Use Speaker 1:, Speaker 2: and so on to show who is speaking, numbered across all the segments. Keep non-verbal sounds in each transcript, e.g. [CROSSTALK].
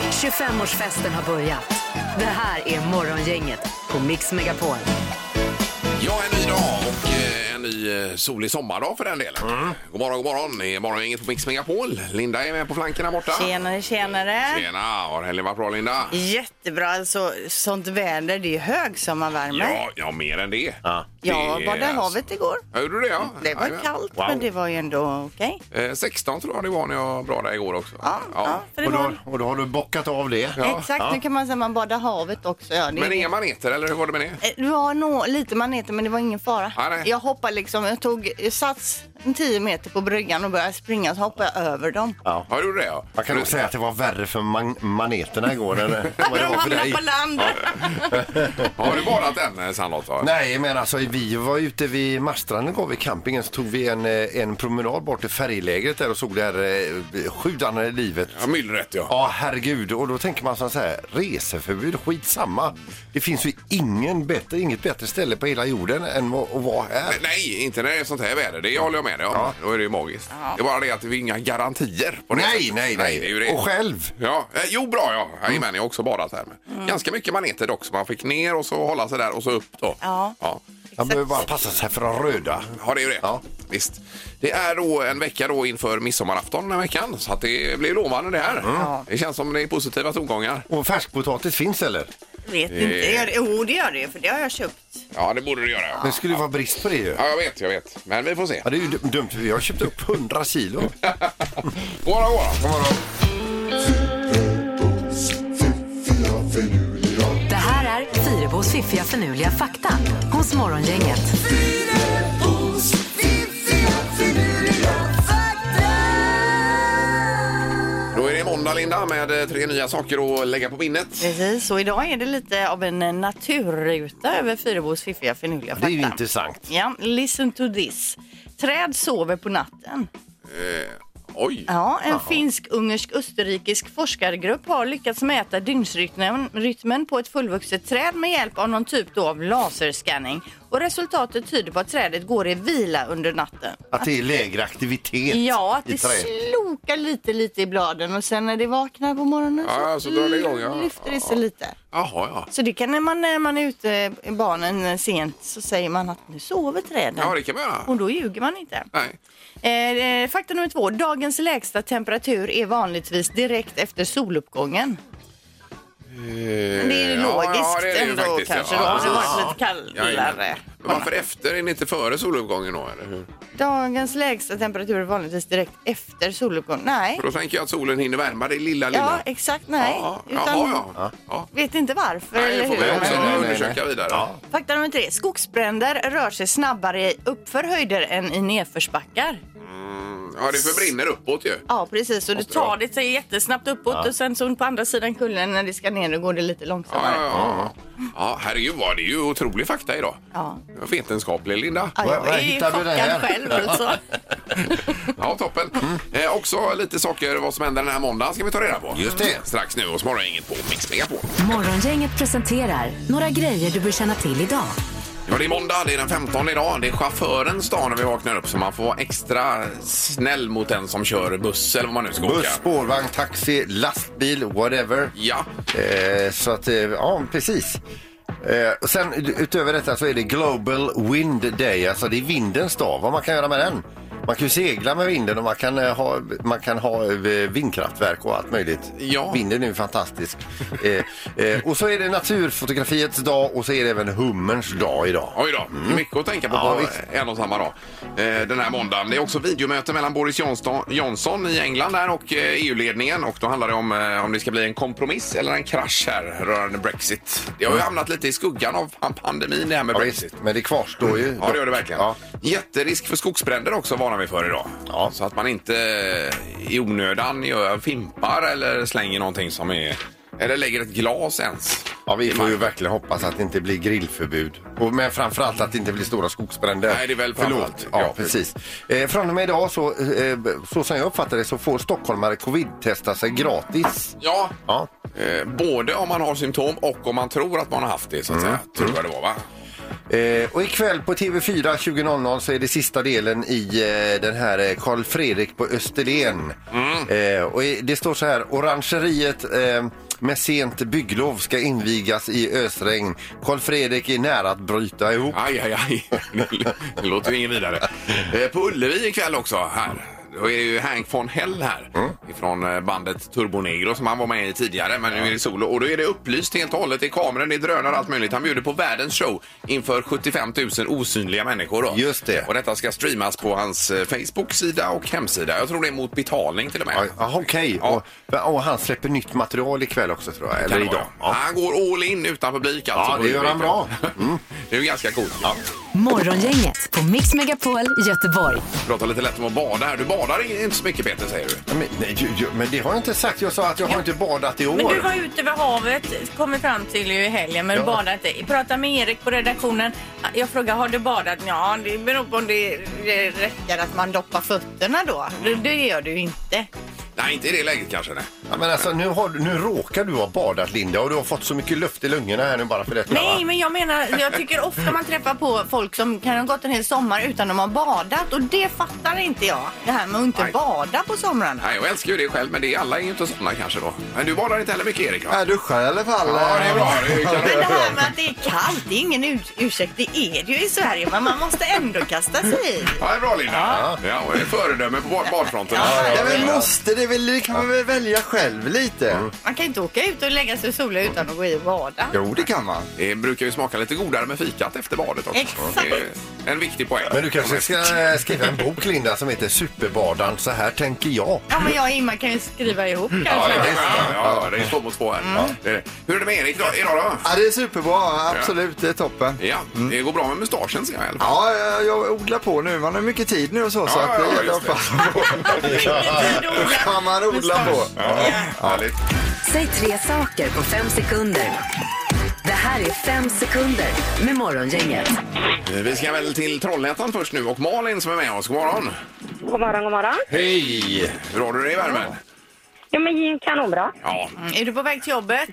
Speaker 1: 25-årsfesten har börjat. Det här är Morgongänget på Mix Megapol.
Speaker 2: Ja, en ny dag och eh, en ny eh, solig sommardag för den delen.
Speaker 3: Mm.
Speaker 2: God morgon, god morgon. Det är morgongänget på Mix Megapol. Linda är med på flanken här borta.
Speaker 4: Tjenare, tjenare.
Speaker 2: Tjena! Har helgen varit bra, Linda?
Speaker 4: Jättebra, alltså sånt väder. Det är ju högsommarvärme.
Speaker 2: Ja, ja, mer än det.
Speaker 3: Ja.
Speaker 4: Jag
Speaker 2: det-
Speaker 4: badade havet igår.
Speaker 2: Hörde du det? Ja.
Speaker 4: Det var
Speaker 2: Jajamän.
Speaker 4: kallt,
Speaker 3: Wow.
Speaker 4: men det var ju ändå okej.
Speaker 2: Eh, 16 tror jag det var när jag badade igår också.
Speaker 4: Ja, ja. för det
Speaker 3: Och, då,
Speaker 4: var...
Speaker 3: och då har du bockat av det.
Speaker 2: Ja.
Speaker 4: Exakt, nu kan man säga man badar havet också. Ja, det,
Speaker 2: Men
Speaker 4: är-
Speaker 2: inga maneter, eller hur var det med det?
Speaker 4: Eh, det var nog lite maneter, men det var ingen fara.
Speaker 2: Ja, nej.
Speaker 4: jag hoppade liksom, jag tog jag sats 10 meter på bryggan och började springa, så hoppade jag över dem.
Speaker 3: Ja.
Speaker 2: Ja, du gjorde det ja.
Speaker 3: Jag kan nog säga att det var värre för man- maneterna igår
Speaker 2: [LAUGHS]
Speaker 3: än vad det var för
Speaker 4: hamnade
Speaker 3: dig.
Speaker 4: på land!
Speaker 2: Har du badat än, eh, Sandholt? va?
Speaker 3: Nej, men alltså vi var ute vid Marstranden igår vid campingen så tog vi en, eh, en promenad bort till färglägret där och såg det här eh, sjudande livet.
Speaker 2: Ja, myllret ja.
Speaker 3: Ja, herregud. Och då tänker man så här, reseförbud, skitsamma. Det finns ju ingen bättre, inget bättre ställe på hela jorden än att att vara här.
Speaker 2: Nej, inte när det är sånt här väder. Det håller jag med dig om. Då är det ju magiskt. Det är bara det att det är inga garantier. På det
Speaker 3: Nej,
Speaker 2: sättet.
Speaker 3: nej,
Speaker 2: nej. Det är ju
Speaker 3: nej.
Speaker 2: det.
Speaker 3: Och själv. Mm.
Speaker 2: Ja, eh, jo bra ja. Jajamän, jag har också badat här. Men
Speaker 4: Mm.
Speaker 2: Ganska mycket maneter dock, så man fick ner och så hålla sig där och så upp då.
Speaker 4: Ja.
Speaker 2: ja.
Speaker 3: Man behöver bara passa sig för de röda.
Speaker 2: Ja, det är ju det.
Speaker 3: Ja.
Speaker 2: Visst. Det är då en vecka då inför midsommarafton den här veckan, så att det blir lovande det
Speaker 3: Mm.
Speaker 2: här. Det känns som det är positiva tongångar.
Speaker 3: Och färskpotatis finns eller?
Speaker 4: [LAUGHS] Vet inte, gör det? Jo det gör det, för det har jag köpt.
Speaker 2: Ja, det borde det göra. Ja.
Speaker 3: Det skulle ju vara brist på det ju.
Speaker 2: Ja, jag vet, jag vet. Men vi får se.
Speaker 3: Ja, det är ju dum- dumt. Vi har köpt upp 100 kilo.
Speaker 2: God morgon, god morgon.
Speaker 1: Det här är Fyrebos fiffiga förnuliga fakta hos Morgongänget.
Speaker 2: Då är det måndag, Linda, med eh, tre nya saker att lägga på minnet.
Speaker 4: Precis, och idag är det lite av en eh, naturruta över Fyrebos fiffiga finurliga
Speaker 3: Det
Speaker 4: fakta.
Speaker 3: är
Speaker 4: [LAUGHS]
Speaker 3: ju intressant.
Speaker 4: Ja, listen to this. Träd sover på natten.
Speaker 2: Eh, oj!
Speaker 4: Ja, en finsk-ungersk-österrikisk forskargrupp har lyckats mäta dygnsrytmen rytmen på ett fullvuxet träd med hjälp av någon typ då av laserscanning. Och resultatet tyder på att trädet går i vila under natten.
Speaker 3: Att det är lägre aktivitet
Speaker 4: Ja, att
Speaker 3: i
Speaker 4: det
Speaker 3: trä.
Speaker 4: slokar lite, lite i bladen och sen när det vaknar på morgonen
Speaker 2: Ja, så drar det igång, ja.
Speaker 4: lyfter det sig
Speaker 2: Ja.
Speaker 4: lite.
Speaker 2: Jaha, ja.
Speaker 4: Så det kan när man, när man är ute, barnen sent, så säger man att nu sover träden.
Speaker 2: Ja, det kan man göra.
Speaker 4: Och då ljuger man inte.
Speaker 2: Nej.
Speaker 4: Eh, eh, fakta nummer två. Dagens lägsta temperatur är vanligtvis direkt efter soluppgången. Men det är ju
Speaker 2: Eh,
Speaker 4: logiskt
Speaker 2: ja, det är det ju
Speaker 4: ändå
Speaker 2: faktiskt,
Speaker 4: kanske
Speaker 2: ja.
Speaker 4: då.
Speaker 2: Ja,
Speaker 4: om Det
Speaker 2: precis.
Speaker 4: var lite kallare.
Speaker 2: Jajamän. Men varför efter? Är det inte före soluppgången då? Eller hur?
Speaker 4: Dagens lägsta temperatur är vanligtvis direkt efter soluppgången. Nej.
Speaker 2: För då tänker jag att solen hinner värma det lilla
Speaker 4: Ja,
Speaker 2: lilla.
Speaker 4: exakt. Nej.
Speaker 2: Ja,
Speaker 4: Utan
Speaker 2: jaha, ja. ja.
Speaker 4: vet inte varför.
Speaker 2: Nej, det
Speaker 4: eller
Speaker 2: får vi
Speaker 4: hur?
Speaker 2: också
Speaker 3: Nej, nej, nej, nej.
Speaker 2: undersöka vidare.
Speaker 3: Ja.
Speaker 4: Fakta nummer tre. Skogsbränder rör sig snabbare i uppför höjder än i nedförsbackar.
Speaker 2: Ja, det förbrinner uppåt ju.
Speaker 4: Ja, precis. Och det
Speaker 2: Måste det vara.
Speaker 4: tar det sig jättesnabbt uppåt och sen så på andra sidan kullen när det ska ner då går det lite
Speaker 2: Ja,
Speaker 4: långsammare.
Speaker 2: ja, ja. ja herregud, vad det är ju otrolig fakta idag.
Speaker 4: Ja.
Speaker 2: Vetenskaplig, Linda.
Speaker 4: Ja,
Speaker 3: Var-
Speaker 4: jag
Speaker 3: var
Speaker 4: är
Speaker 3: hittar du det
Speaker 4: chockad
Speaker 3: här?
Speaker 4: själv
Speaker 3: [LAUGHS]
Speaker 4: alltså.
Speaker 2: Ja, toppen.
Speaker 3: Mm.
Speaker 2: Eh, också lite saker vad som händer den här måndagen ska vi ta reda på.
Speaker 3: Just det.
Speaker 2: Strax nu hos Morgongänget på Mix Megapol.
Speaker 1: Morgongänget presenterar några grejer du bör känna till idag.
Speaker 2: Ja, det är måndag, det är den 15 idag. Det är chaufförens dag när vi vaknar upp så man får vara extra snäll mot den som kör buss eller vad man nu ska
Speaker 3: Buss,
Speaker 2: åka.
Speaker 3: spårvagn, taxi, lastbil, whatever.
Speaker 2: Ja.
Speaker 3: Eh, så att, eh, ja precis. Eh, och sen utöver detta så är det Global Wind Day, alltså det är vindens dag. Vad man kan göra med den? Man kan ju segla med vinden och man kan eh, ha, man kan ha eh, vindkraftverk och allt möjligt.
Speaker 2: Ja.
Speaker 3: Vinden är ju fantastisk. eh, eh, och så är det naturfotografiets dag och så är det även hummerns dag idag.
Speaker 2: Oj då, mycket att tänka på
Speaker 3: Ja,
Speaker 2: på
Speaker 3: visst.
Speaker 2: en och samma dag. Eh, Den här måndagen. Det är också videomöte mellan Boris Johnson, Johnson i England där och eh, EU-ledningen. Och då handlar det om eh, om det ska bli en kompromiss eller en krasch här rörande Brexit. Det har ju hamnat lite i skuggan av pan- pandemin det här med
Speaker 3: Ja,
Speaker 2: Brexit.
Speaker 3: visst, men det kvarstår ju.
Speaker 2: Ja, det gör det verkligen.
Speaker 3: Ja.
Speaker 2: Jätterisk för skogsbränder också varnar vi för idag.
Speaker 3: Ja.
Speaker 2: Så att man inte i onödan gör fimpar eller slänger någonting som är... Eller lägger ett glas ens.
Speaker 3: Ja, vi får ju verkligen hoppas att det inte blir grillförbud. Och, men framförallt att det inte blir stora skogsbränder.
Speaker 2: Nej, det är väl framförallt.
Speaker 3: Förlåt. Ja,
Speaker 2: Ja,
Speaker 3: precis. Eh, från och med idag så, eh, så som jag uppfattar det så får stockholmare covid-testa sig gratis.
Speaker 2: Ja,
Speaker 3: Ja. Mm.
Speaker 2: Eh, både om man har symptom och om man tror att man har haft det. Så att säga. Tror jag det var, va?
Speaker 3: Eh, och ikväll på TV4 20.00 så är det sista delen i eh, den här eh, Karl Fredrik på Österlen.
Speaker 2: Mm.
Speaker 3: Eh, och i- det står så här, orangeriet eh, med sent bygglov ska invigas i ösregn. Karl Fredrik är nära att bryta ihop.
Speaker 2: Aj, aj, aj. Det låter ju ingen vidare. Eh, På Ullevi ikväll också här. Då är det ju Hank von Hell här
Speaker 3: Mm.
Speaker 2: ifrån eh, bandet Turbo Negro som han var med i tidigare men nu är det solo och då är det upplyst helt och hållet i kameran, det är drönare och allt möjligt. Han bjuder på världens show inför 75 000 osynliga människor då.
Speaker 3: Just det.
Speaker 2: Och detta ska streamas på hans eh, Facebook-sida och hemsida. Jag tror det är mot betalning till och med.
Speaker 3: Ja, Jaha, okej.
Speaker 2: Ja.
Speaker 3: Och, och han släpper nytt material ikväll också tror jag. Eller
Speaker 2: Kan det
Speaker 3: idag.
Speaker 2: vara. Han går all in utan publik alltså.
Speaker 3: Ja,
Speaker 2: på
Speaker 3: det gör
Speaker 2: Ullevi
Speaker 3: han
Speaker 2: ikväll.
Speaker 3: bra. Mm.
Speaker 2: [LAUGHS] det är ju ganska coolt.
Speaker 1: Morgongänget på Mix Megapol Göteborg.
Speaker 2: Prata lite lätt om att bada här. Du badar inte så mycket Peter säger du.
Speaker 3: Men, nej, ju- ju- men det har jag inte sagt. Jag sa att jag har inte badat i år.
Speaker 4: Men du var ute vid havet, kommer fram till ju i helgen, men
Speaker 3: Ja.
Speaker 4: badade inte. Jag pratade med Erik på redaktionen. Jag frågade, har du badat? Ja, det beror på om det det räcker att man doppar fötterna då. Det, det gör du ju inte.
Speaker 2: Nej, inte i det läget kanske. Nej.
Speaker 3: Ja, men alltså, nu, har, du- nu råkar du ha badat Linda och du har fått så mycket luft i lungorna här nu bara för detta.
Speaker 4: Nej,
Speaker 3: va?
Speaker 4: men jag menar, jag tycker ofta man träffar på folk som kan ha gått en hel sommar utan att de har badat och det fattar inte jag. Det här med att inte
Speaker 2: Nej.
Speaker 4: bada på somrarna.
Speaker 2: Nej, jag älskar ju det själv, men det är alla är ju inte såna kanske då. Men du badar inte heller mycket Erik? va?
Speaker 3: Jag duschar i alla fall.
Speaker 2: Ja, det är bra. Det är
Speaker 4: Men det
Speaker 2: kanon.
Speaker 4: här med att det är kallt, det är ingen ur- ursäkt. Det är det ju i Sverige, men man måste ändå kasta sig i.
Speaker 2: Ja, det är bra Linda. Ja, och ett föredöme på bad- badfronten.
Speaker 4: Ja,
Speaker 5: Ja, men måste det väl, det kan man väl välja själv lite?
Speaker 2: Mm.
Speaker 4: Man kan inte åka ut och lägga sig och sola utan att gå i och bada.
Speaker 5: Jo, det kan man.
Speaker 2: Det brukar ju smaka lite godare med fikat efter badet också.
Speaker 4: Exakt.
Speaker 2: Det är En viktig poäng.
Speaker 3: Men du kanske ska eh, skriva en bok Linda som heter Superbadan, så här tänker jag.
Speaker 4: Ja, men jag och Ingmar kan ju skriva ihop
Speaker 2: Mm. Ja,
Speaker 4: kanske.
Speaker 2: ja, ja, ja, det är två mot två här. Ja, det är det. Hur är det med Erik då, idag då?
Speaker 5: Ja, det är superbra. Absolut, det är toppen.
Speaker 2: Ja, det går bra med mustaschen ser jag i alla fall.
Speaker 5: Ja, jag, jag odlar på nu. Man har mycket tid nu och så, så
Speaker 2: Ja,
Speaker 5: att det
Speaker 2: ja,
Speaker 5: gäller
Speaker 2: just
Speaker 5: att
Speaker 2: det.
Speaker 5: passa på.
Speaker 2: [LAUGHS]
Speaker 5: Då kan man odla på.
Speaker 2: Härligt.
Speaker 1: Säg tre saker på fem sekunder. Det här är fem sekunder med Morgongänget.
Speaker 2: Vi ska väl till Trollhättan först nu och Malin som är med oss. God morgon!
Speaker 6: God morgon, god morgon.
Speaker 2: Hej! Hur har du det i värmen?
Speaker 6: Jo, men kanonbra.
Speaker 2: Ja,
Speaker 4: Mm, Är du på väg till jobbet?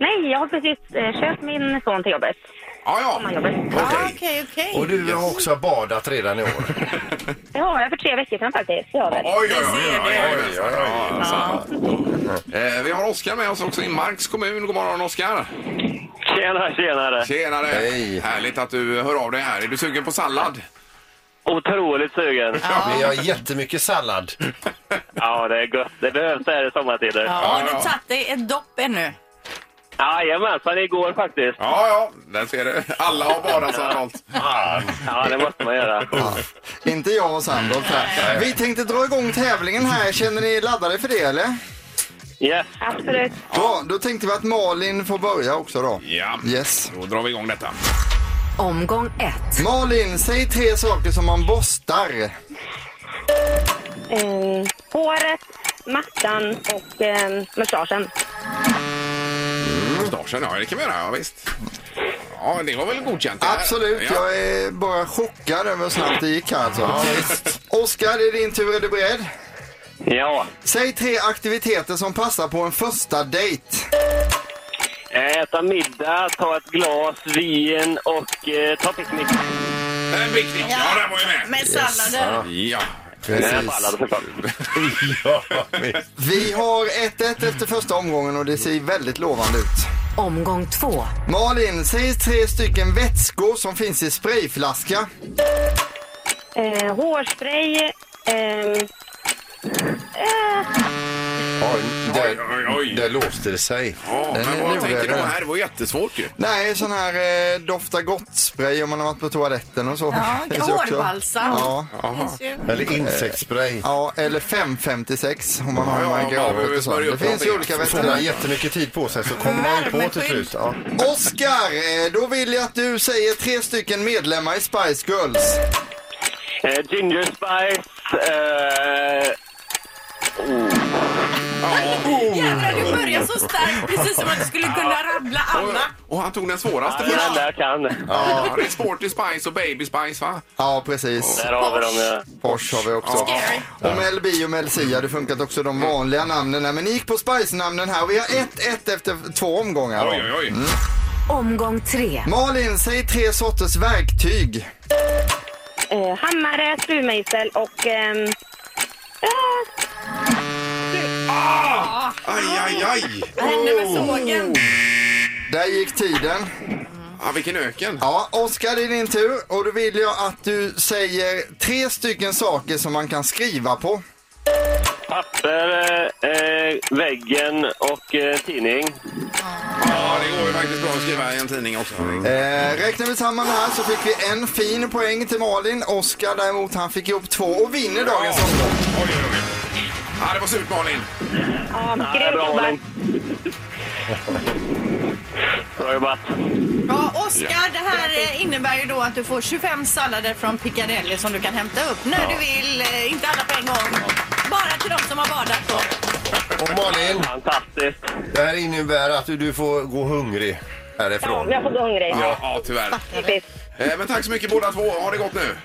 Speaker 6: Nej, jag har precis eh, kört min son till jobbet.
Speaker 2: ja, ja.
Speaker 6: Sommarjobbet.
Speaker 4: Ja,
Speaker 2: Okej.
Speaker 4: Okej, okej.
Speaker 3: Och du har också badat redan i år.
Speaker 6: Det har jag för tre veckor sedan faktiskt. Det har jag väl.
Speaker 2: Oj, oj, oj,
Speaker 4: ser
Speaker 2: oj, oj, oj, oj. Ja. Eh, Vi har Oskar med oss också i Marks kommun. God morgon Oskar!
Speaker 7: Tjena, tjenare!
Speaker 2: Tjenare!
Speaker 3: Hej.
Speaker 2: Härligt att du hör av dig här. Är du sugen på sallad?
Speaker 7: Otroligt sugen.
Speaker 3: Vi har jättemycket sallad.
Speaker 7: Ja, det är gött. Det behövs det här i sommartider.
Speaker 4: Ja, har du tagit dig ett dopp ännu?
Speaker 7: Jajamensan, igår faktiskt.
Speaker 2: Ja, ja, där ser du. Alla har badat så här långt.
Speaker 7: Ja, det måste man göra.
Speaker 5: Inte jag och Sandolf här. Vi tänkte dra igång tävlingen här. Känner ni er laddade för det eller?
Speaker 7: Yes.
Speaker 6: Absolut.
Speaker 5: Bra, då tänkte vi att Malin får börja också då.
Speaker 2: Ja,
Speaker 5: Yes.
Speaker 2: då drar vi igång detta.
Speaker 1: Omgång ett.
Speaker 5: Malin, säg tre saker som man borstar.
Speaker 6: Eh, håret, mattan och eh, mustaschen.
Speaker 2: Mustaschen, ja det kan vi göra. Ja, visst. Ja, det var väl godkänt? det här?
Speaker 5: Absolut,
Speaker 2: Ja.
Speaker 5: jag är bara chockad över hur snabbt det gick här alltså. Oskar, det är din tur. Är du beredd?
Speaker 7: Ja.
Speaker 5: Säg tre aktiviteter som passar på en första dejt.
Speaker 7: Äta middag, ta ett glas vin och eh, ta picknick.
Speaker 2: Den blickning, ja den var ju med.
Speaker 4: Med sallader?
Speaker 2: Ja,
Speaker 7: Eh, Ballad såklart.
Speaker 5: Vi har 1-1 efter första omgången och det ser väldigt lovande ut.
Speaker 1: Omgång två.
Speaker 5: Malin, säg tre stycken vätskor som finns i sprayflaska.
Speaker 6: Eh, hårspray. Eh, eh,
Speaker 3: Ja,
Speaker 2: oj,
Speaker 3: där,
Speaker 2: oj, oj.
Speaker 3: där låste det sig.
Speaker 2: Ja, men vad
Speaker 5: gjorde
Speaker 2: tänker du
Speaker 5: det.
Speaker 2: här? Det var jättesvårt ju.
Speaker 5: Nej, sån här eh, dofta gott-spray om man har varit på toaletten och så. [LAUGHS]
Speaker 4: Ja,
Speaker 5: Finns ju också.
Speaker 4: hårbalsam.
Speaker 5: Ja.
Speaker 2: Jaha.
Speaker 3: Eller insektsspray.
Speaker 5: ja, eller 556 om man har
Speaker 2: Ja, ja,
Speaker 5: en
Speaker 2: ja,
Speaker 5: gravvåt
Speaker 2: vi
Speaker 5: och så.
Speaker 2: smörjer
Speaker 5: Det
Speaker 2: upp
Speaker 5: finns ju
Speaker 2: dem.
Speaker 5: olika
Speaker 3: Får man
Speaker 5: vätskor.
Speaker 3: jättemycket tid på sig så kommer man ju på till slut. Ja.
Speaker 5: Oskar, eh, då vill jag att du säger tre stycken medlemmar i Spice Girls.
Speaker 7: Eh, ginger spice. Eh,
Speaker 4: Jävlar, du börjar så starkt. Precis som att du skulle kunna rabbla
Speaker 2: Och,
Speaker 4: alla.
Speaker 2: och han tog den svåraste
Speaker 7: det är den där jag kan.
Speaker 2: Ja, det är Sporty Spice och Baby Spice va?
Speaker 5: Ja, precis.
Speaker 7: Där har vi dem. ja.
Speaker 5: Porsche har vi också.
Speaker 4: Scary.
Speaker 5: Och Mel B och Mel C hade funkat också de vanliga namnen här. Men ni gick på Spice-namnen här och vi har 1-1 efter två omgångar.
Speaker 2: Mm. Oj, oj, oj.
Speaker 1: Omgång tre.
Speaker 5: Malin, säg tre sorters verktyg.
Speaker 6: eh, hammare, skruvmejsel och... ehm, ja,
Speaker 2: Aj, aj, aj!
Speaker 4: Vad hände med sågen?
Speaker 5: Där gick tiden.
Speaker 2: Ja, vilken öken.
Speaker 5: Ja, Oskar, det är din tur. Och då vill jag att du säger tre stycken saker som man kan skriva på.
Speaker 7: Papper, eh, eh, väggen och eh, tidning.
Speaker 2: Ja, det går ju faktiskt bra att skriva i en tidning också.
Speaker 5: Eh, räknar vi samman här så fick vi en fin poäng till Malin. Oskar däremot, han fick ihop två och vinner dagens
Speaker 2: Ja.
Speaker 5: omgång.
Speaker 2: Oj, oj, oj. Ja, det var surt, Malin.
Speaker 6: ja,
Speaker 7: Ja,
Speaker 6: grymt jobbat.
Speaker 7: Bra jobbat.
Speaker 4: Ja, Oskar, det här eh, innebär ju då att du får 25 sallader från Piccadilly som du kan hämta upp när du vill. eh, Inte alla på en gång. Bara till de som har badat då.
Speaker 3: Och Malin,
Speaker 7: Fantastiskt.
Speaker 3: det här innebär att du, du får gå hungrig
Speaker 6: Ja,
Speaker 3: härifrån.
Speaker 6: jag får gå hungrig.
Speaker 2: Ja, ja tyvärr.
Speaker 6: Typiskt.
Speaker 2: Eh, Men tack så mycket båda två. Ha det gott nu.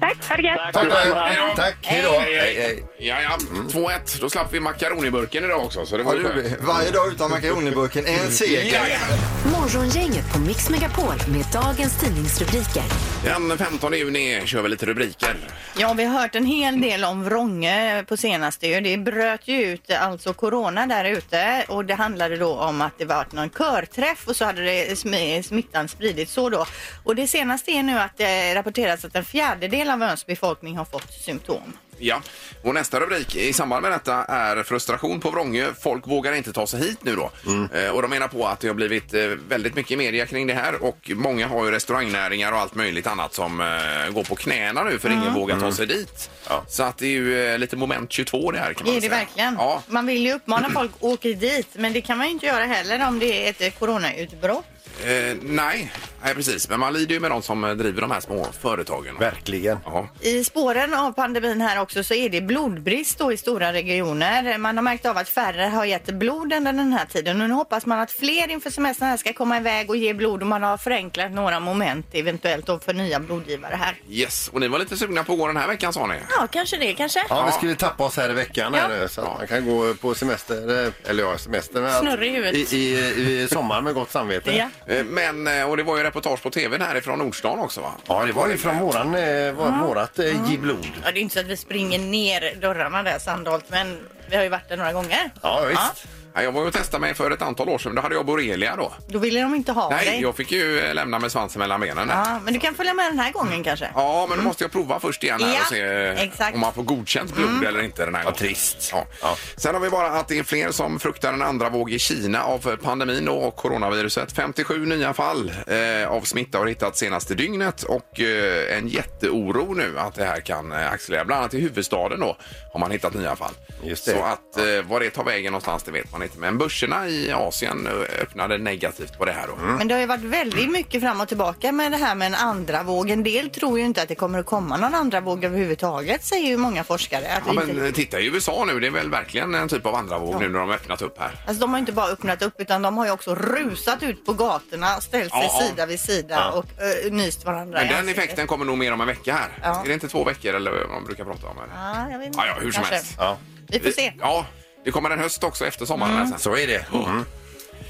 Speaker 6: Tack, ha det gött.
Speaker 3: Tack,
Speaker 7: Tack.
Speaker 3: tack. tack. Hej då.
Speaker 2: Hej,
Speaker 3: Hej, hej.
Speaker 2: Ja, ja. 2-1. Då slapp vi makaroniburken idag också. Så det var
Speaker 5: Ja,
Speaker 2: ju
Speaker 5: det gjorde vi.
Speaker 2: skönt.
Speaker 5: Varje dag utan makaroniburken är
Speaker 8: Mm.
Speaker 5: en seger.
Speaker 2: Ja, ja.
Speaker 1: Morgongänget på Mix Megapol med dagens tidningsrubriker.
Speaker 2: Den 15 juni kör vi lite rubriker.
Speaker 4: Ja, vi har hört en hel del om Vrånge på senaste ju. Det bröt ju ut alltså corona där ute och det handlade då om att det var någon körträff och så hade det smi- smittan spridits så då. Och det senaste är nu att det rapporteras att en fjärdedel av öns befolkning har fått symptom.
Speaker 2: Ja. Och nästa rubrik i samband med detta är frustration på Vrångö. Folk vågar inte ta sig hit nu då. Eh, Och de menar på att det har blivit eh, väldigt mycket media kring det här och många har ju restaurangnäringar och allt möjligt annat som eh, går på knäna nu för
Speaker 4: Mm.
Speaker 2: ingen vågar ta sig dit. Så att det är ju eh, lite moment 22 det här kan man
Speaker 4: Är det
Speaker 2: säga.
Speaker 4: verkligen?
Speaker 2: Ja.
Speaker 4: Man vill ju uppmana folk att åka dit men det kan man ju inte göra heller om det är ett eh, coronautbrott.
Speaker 2: Eh, nej. nej, precis. Men man lider ju med de som eh, driver de här små företagen.
Speaker 3: Verkligen.
Speaker 2: Ja.
Speaker 4: I spåren av pandemin här också så är det blodbrist då i stora regioner. Man har märkt av att färre har gett blod under den här tiden och nu hoppas man att fler inför semestern här ska komma iväg och ge blod och man har förenklat några moment eventuellt då för nya blodgivare här.
Speaker 2: Yes, och ni var lite sugna på att gå den här veckan sa ni.
Speaker 4: Ja, kanske det kanske.
Speaker 3: Ja, vi skulle tappa oss här i veckan här
Speaker 4: Ja.
Speaker 3: nu, så att man kan gå på semester, eh, eller ja, semester, men att-
Speaker 4: Snurra i huvudet.
Speaker 3: i, i, i sommar med gott samvete.
Speaker 4: Ja.
Speaker 2: Eh, Men, eh, och det var ju reportage på tvn härifrån Nordstan också va?
Speaker 3: Ja, det var ju från våran, eh, var, vårat eh, ge blod.
Speaker 4: Ja, det är inte så att vi springer ner dörrarna där Sandholt men vi har ju varit där några gånger.
Speaker 3: Ja, visst.
Speaker 2: Ja, Jag var ju och testade mig för ett antal år sedan, då hade jag borrelia då.
Speaker 4: Då ville de inte ha
Speaker 2: Nej,
Speaker 4: dig.
Speaker 2: jag fick ju eh, lämna med svansen mellan benen. där.
Speaker 4: Ja, men du kan följa med den här gången kanske.
Speaker 2: Ja, men då måste jag prova först igen här
Speaker 4: Ja,
Speaker 2: och se eh,
Speaker 4: exakt. Mm.
Speaker 2: om man får godkänt blod eller inte den här gången. trist. Ja.
Speaker 3: Ja.
Speaker 2: Sen har vi bara att det är fler som fruktar en andra våg i Kina av pandemin då och coronaviruset. 57 nya fall eh, av smitta har hittats senaste dygnet och eh, en jätteoro nu att det här kan eh, accelerera. Bland annat i huvudstaden då har man hittat nya fall.
Speaker 3: Just det.
Speaker 2: Så att eh, var det tar vägen någonstans det vet man inte. Men börserna i Asien eh, öppnade negativt på det här då.
Speaker 4: Men det har ju varit väldigt mycket fram och tillbaka med det här med en andra våg. En del tror ju inte att det kommer att komma någon andra våg överhuvudtaget säger ju många forskare. Att
Speaker 2: Ja,
Speaker 4: vi
Speaker 2: men
Speaker 4: inte...
Speaker 2: eh, titta i USA nu, det är väl verkligen en typ av andra våg nu när de har öppnat upp här.
Speaker 4: Alltså de har ju inte bara öppnat upp utan de har ju också rusat ut på gatorna, ställt sig
Speaker 2: Ja, ja.
Speaker 4: sida vid sida och ö, nyst varandra.
Speaker 2: Men
Speaker 4: i
Speaker 2: den
Speaker 4: ansiktet.
Speaker 2: effekten kommer nog mer om en vecka här.
Speaker 4: Ja.
Speaker 2: Är det inte två veckor eller vad man brukar prata om? Eller?
Speaker 4: Ja, jag vet inte.
Speaker 2: Ja, ja, hur som
Speaker 4: Kanske.
Speaker 2: helst.
Speaker 3: Ja.
Speaker 4: Vi får se.
Speaker 2: Ja, det kommer en höst också efter sommaren. här Sen. Så.
Speaker 3: Så är det. Mm.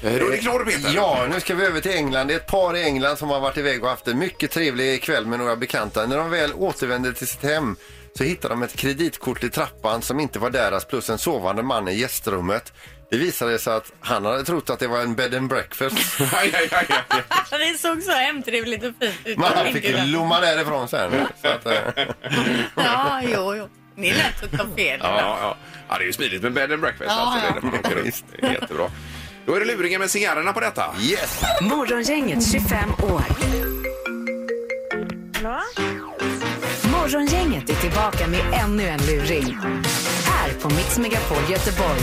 Speaker 2: Då är det knorr, Peter. [LAUGHS]
Speaker 3: Ja, nu ska vi över till England. Det är ett par i England som har varit iväg och haft en mycket trevlig kväll med några bekanta. När de väl återvänder till sitt hem så hittar de ett kreditkort i trappan som inte var deras plus en sovande man i gästrummet. Det visade sig att han hade trott att det var en bed and breakfast.
Speaker 2: Aj, aj, aj, aj.
Speaker 4: det såg så hemtrevligt och fint ut.
Speaker 3: Men han fick lomma därifrån sen. Så att, eh,
Speaker 4: Ja, jo, jo. Det är lätt att ta fel.
Speaker 2: Ja, ja, ja. ja, det är ju smidigt med bed and breakfast.
Speaker 4: Ja,
Speaker 2: alltså,
Speaker 4: ja.
Speaker 2: Det, är det, man åker runt. det är jättebra. Då är det luringen med cigarrerna på detta.
Speaker 3: yes!
Speaker 1: Morgongänget 25 år. Morgongänget är tillbaka med ännu en luring. Här på Mix Megapol Göteborg.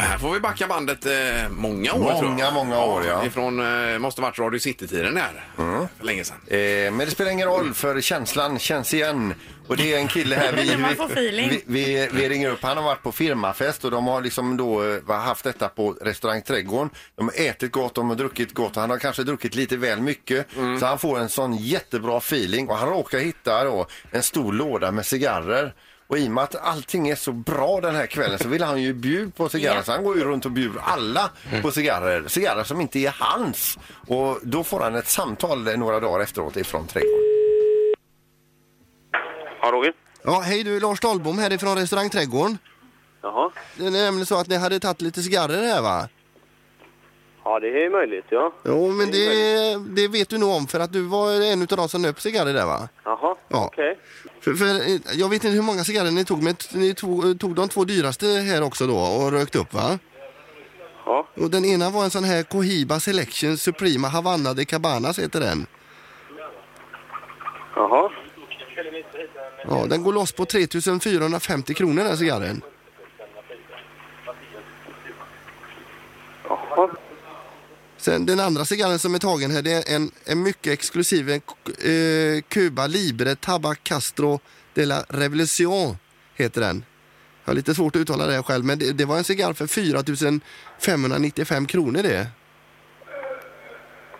Speaker 2: Här får vi backa bandet eh, många år.
Speaker 3: Många,
Speaker 2: tror jag.
Speaker 3: många år, ja.
Speaker 2: Ifrån, eh, måste varit Radio City-tiden här.
Speaker 3: Mm.
Speaker 2: För länge sedan.
Speaker 3: Eh, men det spelar ingen roll för känslan känns igen. Och det är en
Speaker 4: [LAUGHS]
Speaker 3: kille här, vi,
Speaker 4: Man får feeling.
Speaker 3: vi, vi, vi ringer upp, han har varit på firmafest och de har liksom då eh, haft detta på restaurang Trädgården. De har ätit gott, de har druckit gott och han har kanske druckit lite väl mycket. Så han får en sån jättebra feeling och han råkar hitta då en stor låda med cigarrer. Och i och med att allting är så bra den här kvällen så vill han ju bjuda på cigarrer.
Speaker 4: Ja.
Speaker 3: Så han går ju runt och bjuder alla på cigarrer. Cigarrer som inte är hans. Och då får han ett samtal några dagar efteråt ifrån trädgården.
Speaker 7: Ja, Roger?
Speaker 8: Ja, hej du, Lars Dahlbom härifrån restaurang Trädgården.
Speaker 7: Jaha.
Speaker 8: Det är nämligen så att ni hade tagit lite cigarrer här va?
Speaker 7: Ja, det är möjligt, ja.
Speaker 8: Jo, men det, det vet du nog om för att du var en av de som nöp cigarrer där va?
Speaker 7: Jaha,
Speaker 8: Ja.
Speaker 7: okej.
Speaker 8: För, för, eh, jag vet inte hur många cigarrer ni tog, men t- ni tog, eh, tog de två dyraste här också då och rökt upp va?
Speaker 7: Ja.
Speaker 8: Och den ena var en sån här Cohiba Selection Suprema Havana de Cabanas heter den.
Speaker 7: Jaha.
Speaker 8: Ja, den går loss på 3450 kronor den cigarren.
Speaker 7: Jaha.
Speaker 8: Sen den andra cigarren som är tagen här det är en, en mycket exklusiv en, k- eh, Cuba Libre Tabac Castro de la Revolution heter den. Jag har lite svårt att uttala det själv men det, det var en cigarr för 4 595 kronor det.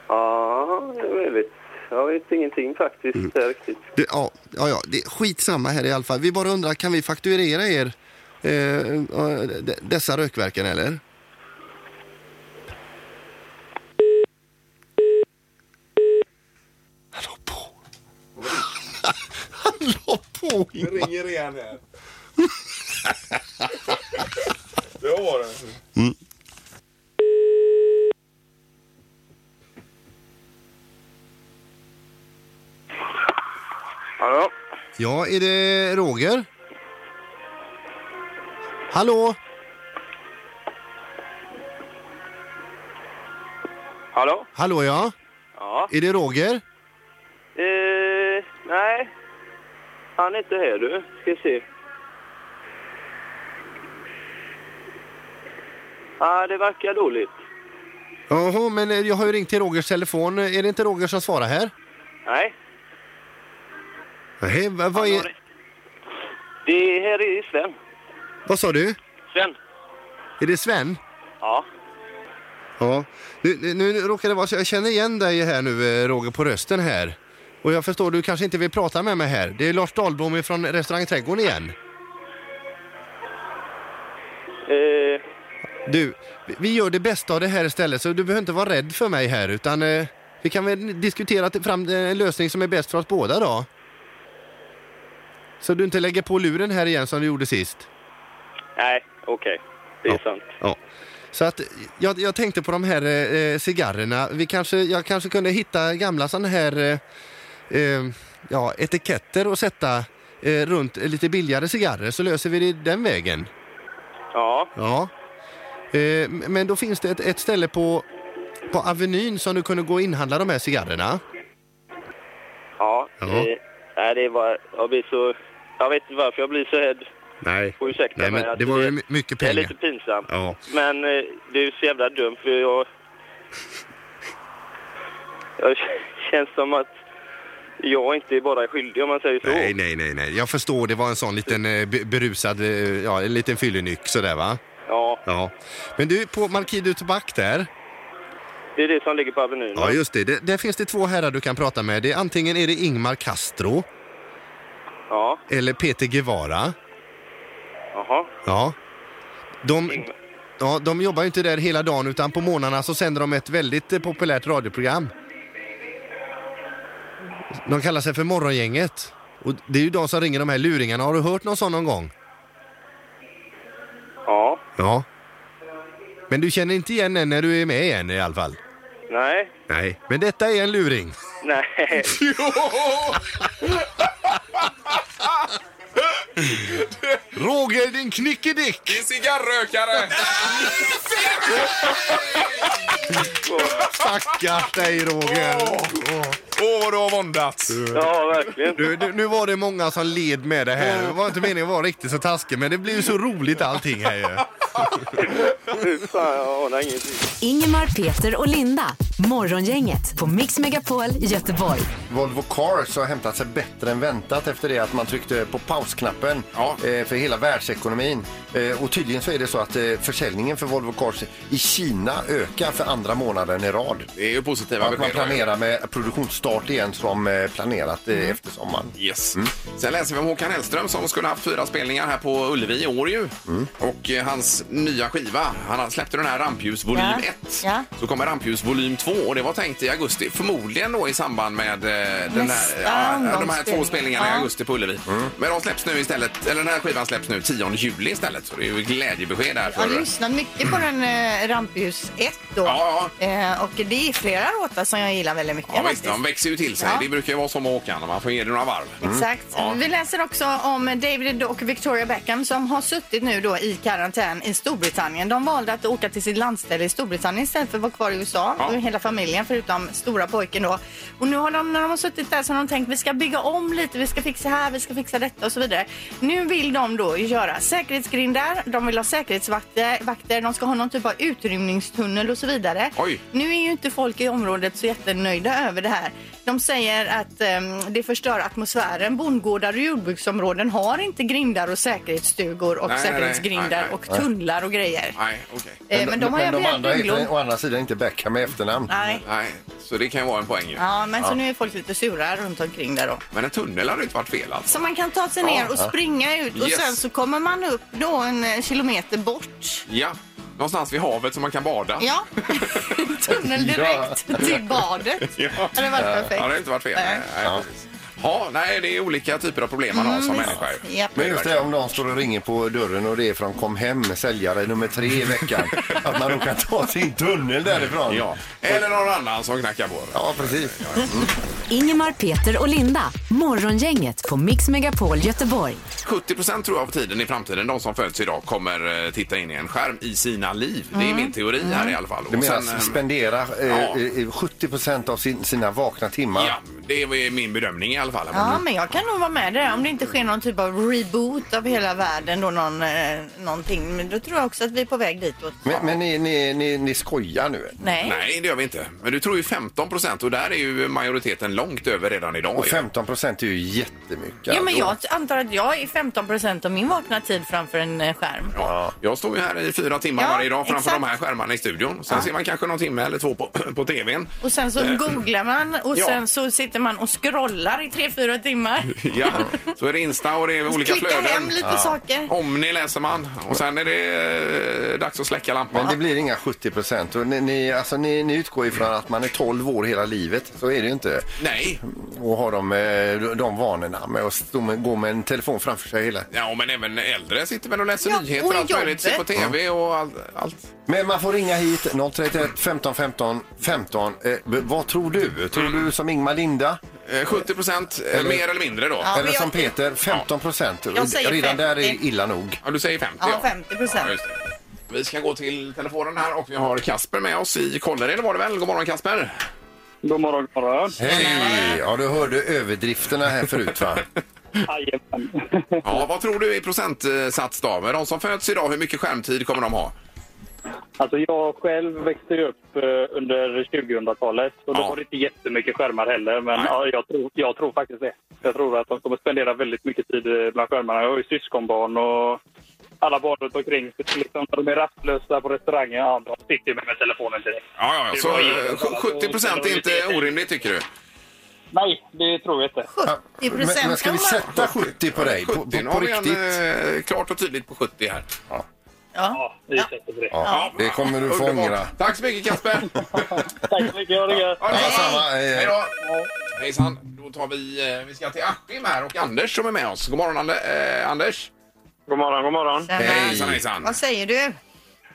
Speaker 7: Ja, det är möjligt. Jag vet ingenting faktiskt
Speaker 8: Mm.
Speaker 7: där riktigt.
Speaker 8: det ja, ja, ja, det är skitsamma här i alla fall. Vi bara undrar, kan vi fakturera er eh, eh, d- dessa rökverken eller? Han la på. Han la på Ingmar.
Speaker 2: ringer igen här. det var det.
Speaker 7: Hallå?
Speaker 8: Ja, är det Roger? Hallå?
Speaker 7: Hallå?
Speaker 8: Hallå ja?
Speaker 7: Ja.
Speaker 8: Är det Roger?
Speaker 7: Eh, nej. Han är inte här du. Ska se. Ja, det verkar dåligt.
Speaker 8: Jaha, men eh, jag har ju ringt till Rogers telefon. Är det inte Roger som svarar här?
Speaker 7: Nej.
Speaker 8: Nej, vad, vad, är,
Speaker 7: Det här är Sven.
Speaker 8: vad sa du?
Speaker 7: Sven?
Speaker 8: Är det Sven?
Speaker 7: Ja.
Speaker 8: Ja, nu, nu, nu råkar det vara så jag känner igen dig här nu eh, Roger på rösten här. Och jag förstår du kanske inte vill prata med mig här. Det är Lars Dahlbom från restaurang Trädgården igen.
Speaker 7: Eh,
Speaker 8: Du, vi- vi gör det bästa av det här istället så du behöver inte vara rädd för mig här utan eh, vi kan väl diskutera till- fram eh, en lösning som är bäst för oss båda då. Så du inte lägger på luren här igen som du gjorde sist.
Speaker 7: nej, okej. Det är sant.
Speaker 8: Ja. Så att jag, jag tänkte på de här eh, cigarrerna. Vi kanske, jag kanske kunde hitta gamla sådana här eh, eh, ja, etiketter och sätta eh, runt lite billigare cigarrer så löser vi det den vägen.
Speaker 7: Ja.
Speaker 8: Ja. Eh, men då finns det ett, ett ställe på, på Avenyn som du kunde gå och inhandla de här cigarrerna.
Speaker 7: Ja.
Speaker 8: Ja.
Speaker 7: Eh, nej, det var... Jag blir så... Jag vet inte varför jag blir så rädd.
Speaker 8: Nej.
Speaker 7: Får ursäkta
Speaker 8: Nej,
Speaker 7: mig.
Speaker 8: men
Speaker 7: att
Speaker 8: det var ju Eh, my- mycket
Speaker 7: Det är
Speaker 8: pengar.
Speaker 7: lite pinsamt.
Speaker 8: Ja.
Speaker 7: Men eh, det är ju så jävla dumt för jag... Jag [LAUGHS] känns som att jag inte bara är skyldig om man säger så.
Speaker 8: Nej, nej, nej, nej. Jag förstår, det var en sån liten eh, be- berusad, eh, ja, en liten fyllenyck sådär va?
Speaker 7: Ja,
Speaker 8: Ja. Men du, på Marquis du Tobak där.
Speaker 7: det är det som ligger på Avenyn.
Speaker 8: Ja, just det. det. Där finns det två herrar du kan prata med. Det är, antingen är det Ingmar Castro
Speaker 7: Ja,
Speaker 8: eller Peter Guevara.
Speaker 7: jaha.
Speaker 8: Ja. De, ja, de jobbar ju inte där hela dagen utan på morgnarna så sänder de ett väldigt eh, populärt radioprogram. De kallar sig för Morgongänget. Och det är ju de som ringer de här luringarna. Har du hört någon sån någon gång?
Speaker 7: Ja,
Speaker 8: Ja. Men du känner inte igen den när du är med igen i alla fall?
Speaker 7: nej,
Speaker 8: Nej. Men detta är en luring. [LAUGHS]
Speaker 7: nej.
Speaker 8: Roger din knickedick!
Speaker 2: Det är cigarrökare!
Speaker 8: Stackars dig Roger!
Speaker 2: Åh, vad du har våndats!
Speaker 7: Ja, verkligen.
Speaker 8: Du, du, nu var det många som led med det här. Det var inte meningen att vara riktigt så taskig men det blev ju så roligt allting här ju.
Speaker 7: Fan, jag anar ingenting.
Speaker 1: Ingemar, Peter och Linda. Morgongänget på Mix Megapol Göteborg.
Speaker 3: Volvo Cars har hämtat sig bättre än väntat efter det att man tryckte på pausknappen
Speaker 2: Ja.
Speaker 3: eh, för hela världsekonomin. Eh, Och tydligen så är det så att eh, försäljningen för Volvo Cars i Kina ökar för andra månaden i rad.
Speaker 2: Det är ju positiva
Speaker 3: Att man
Speaker 2: besked. då ju.
Speaker 3: planerar med produktionsstart igen som eh, planerat eh,
Speaker 8: Mm.
Speaker 3: efter sommaren.
Speaker 2: Yes. Mm. Sen läser vi om Håkan Hellström som skulle haft fyra spelningar här på Ullevi i år ju. Och eh, hans nya skiva, han släppte den här Rampljus volym
Speaker 4: Ja.
Speaker 2: 1.
Speaker 4: Ja.
Speaker 2: Så kommer Rampljus volym 2 och det var tänkt i augusti. Förmodligen då i samband med eh, den här,
Speaker 4: Nästa
Speaker 2: ja, de här två
Speaker 4: omgångsspelning.
Speaker 2: spelningarna i
Speaker 4: Ja.
Speaker 2: augusti på Ullevi. Men de släpps nu istället, eller den här skivan släpps nu 10 juli istället. Så det är ju glädjebesked här
Speaker 4: Jag
Speaker 2: för...
Speaker 4: har lyssnat mycket på den eh, Rampljus 1 då.
Speaker 2: Ja,
Speaker 4: Eh, och det är flera låtar som jag gillar väldigt mycket
Speaker 2: Ja, visst,
Speaker 4: faktiskt.
Speaker 2: de växer ju till sig.
Speaker 4: Ja.
Speaker 2: Det brukar ju vara som med Håkan, man får ge det några varv.
Speaker 4: Exakt.
Speaker 2: Mm. Ja.
Speaker 4: Vi läser också om David och Victoria Beckham som har suttit nu då i karantän i Storbritannien. De valde att åka till sitt landställe i Storbritannien istället för att vara kvar i USA.
Speaker 2: Ja.
Speaker 4: Och Hela familjen förutom stora pojken då. Och nu har de, när de har suttit där så har de tänkt vi ska bygga om lite, vi ska fixa här, vi ska fixa detta och så vidare. Nu vill de då göra säkerhetsgrindar, de vill ha säkerhetsvakter, vakter, de ska ha någon typ av utrymningstunnel och så vidare.
Speaker 2: Oj.
Speaker 4: Nu är ju inte folk i området så jättenöjda över det här. De säger att ehm, det förstör atmosfären. Bondgårdar och jordbruksområden har inte grindar och säkerhetsstugor och
Speaker 2: Nej, nej, nej.
Speaker 4: säkerhetsgrindar
Speaker 2: Nej, nej.
Speaker 4: och tunnlar och grejer.
Speaker 2: Nej, okej.
Speaker 4: Eh, men de har ju
Speaker 3: men de
Speaker 4: begärt
Speaker 3: andra
Speaker 4: bygglov.
Speaker 3: heter å andra sidan inte Beckham i efternamn.
Speaker 4: Nej.
Speaker 2: Nej, så det kan ju vara en poäng ju.
Speaker 4: Ja, men så nu är folk lite sura runt omkring där då.
Speaker 2: Men en tunnel hade ju inte varit fel alltså.
Speaker 4: Så man kan ta sig ner och springa ut och
Speaker 2: Yes.
Speaker 4: sen så kommer man upp då en eh, kilometer bort.
Speaker 2: Ja, någonstans vid havet som man kan bada.
Speaker 4: Ja, [LAUGHS] tunnel direkt till badet.
Speaker 2: Ja.
Speaker 4: Det hade varit perfekt.
Speaker 2: Ja, det har inte varit fel.
Speaker 4: Nej.
Speaker 2: Nej. Ja. precis. Ja, nej, det är olika typer av problem man har som människa. ju.
Speaker 4: Mm, Japp.
Speaker 3: Men just det om någon står och ringer på dörren och det är från Kom hem, säljare nummer tre i veckan.
Speaker 2: [LAUGHS]
Speaker 3: att man då kan ta sin tunnel därifrån.
Speaker 2: Ja. Eller någon annan som knackar på.
Speaker 3: Ja, precis. Mm.
Speaker 1: Ingemar, Peter och Linda. Morgongänget på Mix Megapol Göteborg.
Speaker 2: 70 tror jag av tiden i framtiden, de som föds idag, kommer eh, titta in i en skärm i sina liv.
Speaker 4: Mm.
Speaker 2: Det är min teori här i alla fall.
Speaker 3: Du
Speaker 2: Och
Speaker 3: menar
Speaker 2: sen, eh,
Speaker 3: spendera eh,
Speaker 2: ja.
Speaker 3: eh, 70 av sin, sina vakna timmar?
Speaker 2: Ja, det är min bedömning i alla fall.
Speaker 4: Ja, men jag kan nog vara med där. Om det inte sker någon typ av reboot av hela världen då någon, eh, någonting. Men då tror jag också att vi är på väg ditåt.
Speaker 3: Men, men ni, ni, ni, ni skojar nu?
Speaker 4: Nej.
Speaker 2: Nej, det gör vi inte. Men du tror ju 15 och där är ju majoriteten långt över redan idag.
Speaker 3: Och
Speaker 2: ju.
Speaker 3: 15 är ju jättemycket.
Speaker 4: Jo, men jag antar att jag är 15 procent av min vakna tid framför en eh, skärm.
Speaker 2: Ja. Jag står ju här i fyra timmar
Speaker 4: Ja,
Speaker 2: varje dag framför
Speaker 4: exakt.
Speaker 2: de här skärmarna i studion. Sen ser man kanske någon timme eller två på, [CLEARS THROAT] på tvn.
Speaker 4: Och sen så googlar man och
Speaker 2: Ja.
Speaker 4: sen så sitter man och scrollar i tre fyra timmar. [LAUGHS]
Speaker 2: Ja, så är det Insta och det är olika
Speaker 4: Klickar hem
Speaker 2: flöden.
Speaker 4: lite saker.
Speaker 2: Omni läser man och sen är det eh, dags att släcka lampan.
Speaker 3: Men det blir inga 70 och ni, ni, alltså, ni, ni utgår ifrån att man är 12 år hela livet. Så är det ju inte.
Speaker 2: Nej,
Speaker 3: Och har de, eh, de vanorna med att stå med, gå med en telefon framför sig hela
Speaker 2: ja, men även äldre sitter väl och läser
Speaker 4: Ja,
Speaker 2: nyheter
Speaker 4: och
Speaker 2: och allt
Speaker 4: jobbet.
Speaker 2: möjligt. Ser på tv och allt. allt.
Speaker 3: Men man får ringa hit 031 15 15 15. Eh, b- vad tror du? Tror du som Ingmar Linda?
Speaker 2: Eh, 70 procent, mer eller mindre då. Ja.
Speaker 3: eller
Speaker 4: men jag-
Speaker 3: som Peter? 15 procent.
Speaker 4: Jag säger
Speaker 3: Redan där är
Speaker 4: 50.
Speaker 3: illa nog.
Speaker 2: du säger 50
Speaker 4: Ja, 50%.
Speaker 2: Ja, just det. vi ska gå till telefonen här och vi har Kasper med oss i Kållered var det väl? God morgon Kasper!
Speaker 7: God morgon, god morgon.
Speaker 3: Hej! Ja, du hörde överdrifterna här
Speaker 4: [LAUGHS]
Speaker 3: förut va?
Speaker 7: Jajamän. [LAUGHS]
Speaker 2: Ja, vad tror du i procentsats då? Med de som föds idag, hur mycket skärmtid kommer de ha?
Speaker 7: Alltså jag själv växte ju upp eh, under 2000-talet och då
Speaker 2: Ja.
Speaker 7: var det inte jättemycket skärmar heller. Men
Speaker 2: Nej.
Speaker 7: ja, jag, tror, jag tror faktiskt det. Jag tror att de kommer spendera väldigt mycket tid eh, bland skärmarna. Jag har ju syskonbarn och alla barn runt omkring. Så Liksom, när de är rastlösa på restaurangen, ja, de sitter ju med, med telefonen direkt.
Speaker 2: Ja, ja, ja. Så eh, sj- 70 procent är inte orimligt tycker du?
Speaker 7: Nej, det tror jag inte.
Speaker 4: 70
Speaker 3: Men, men
Speaker 4: procent.
Speaker 3: ska vi sätta 70 på dig? På, på,
Speaker 2: 70, nu
Speaker 3: på
Speaker 2: har vi en,
Speaker 3: riktigt?
Speaker 2: eh, klart och tydligt på 70 här.
Speaker 4: Ja.
Speaker 7: Ja, det är säkert det.
Speaker 3: Ja, det kommer du få
Speaker 2: Underbart.
Speaker 3: ångra.
Speaker 2: Tack så mycket Kasper!
Speaker 7: Tack så mycket, ha det gött.
Speaker 2: Ha det bra.
Speaker 3: Samma,
Speaker 2: Hej
Speaker 3: eh,
Speaker 2: då! Hejsan! Då tar vi, eh, vi ska till Askim här och Anders som är med oss. God morgon Ander, eh, Anders!
Speaker 7: God morgon, god morgon.
Speaker 4: Tjena.
Speaker 3: Hej.
Speaker 2: Hejsan hejsan!
Speaker 4: Vad säger du?